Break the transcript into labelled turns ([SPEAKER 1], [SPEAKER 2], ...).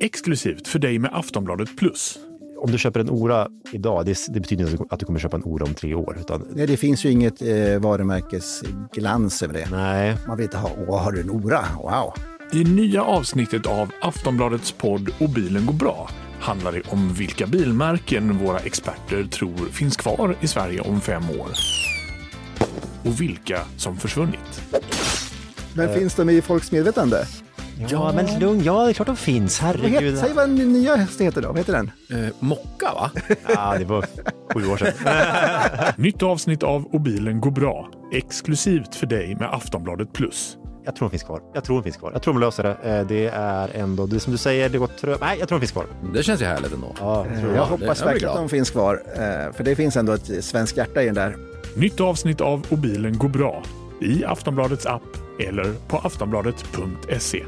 [SPEAKER 1] Exklusivt för dig med Aftonbladet Plus.
[SPEAKER 2] Om du köper en Ora idag, det, det betyder inte att du kommer köpa en Ora om tre år. Utan,
[SPEAKER 3] Nej, det finns ju inget eh, varumärkesglans över det.
[SPEAKER 2] nej,
[SPEAKER 3] Man vill inte ha, åh, har du en Ora? Wow!
[SPEAKER 1] I nya avsnittet av Aftonbladets podd Och bilen går bra handlar det om vilka bilmärken våra experter tror finns kvar i Sverige om fem år. Och vilka som försvunnit.
[SPEAKER 3] Men finns de i folks medvetande?
[SPEAKER 2] ja, men lugn, ja det är klart de finns,
[SPEAKER 3] Vad heter,
[SPEAKER 2] herregud.
[SPEAKER 3] säg vad den nya hästen heter då, vad heter den?
[SPEAKER 4] Eh, mocka va?
[SPEAKER 2] Ja, det var sju år sedan.
[SPEAKER 1] Nytt avsnitt av Och bilen går bra. Exklusivt för dig med Aftonbladet Plus.
[SPEAKER 2] Jag tror de finns kvar. Jag tror de finns kvar. Jag tror de löser det. Eh, Det är ändå, det är som du säger, det går trögt. Nej, jag tror de finns kvar.
[SPEAKER 4] Det känns ju härligt ändå.
[SPEAKER 2] Ja, jag tror
[SPEAKER 3] Jag
[SPEAKER 2] det.
[SPEAKER 3] hoppas
[SPEAKER 4] jag blir
[SPEAKER 3] verkligen att
[SPEAKER 4] glad.
[SPEAKER 3] de finns kvar, eh, för det finns ändå ett svenskt hjärta i den där.
[SPEAKER 1] Nytt avsnitt av Och bilen går bra i Aftonbladets app eller på aftonbladet.se.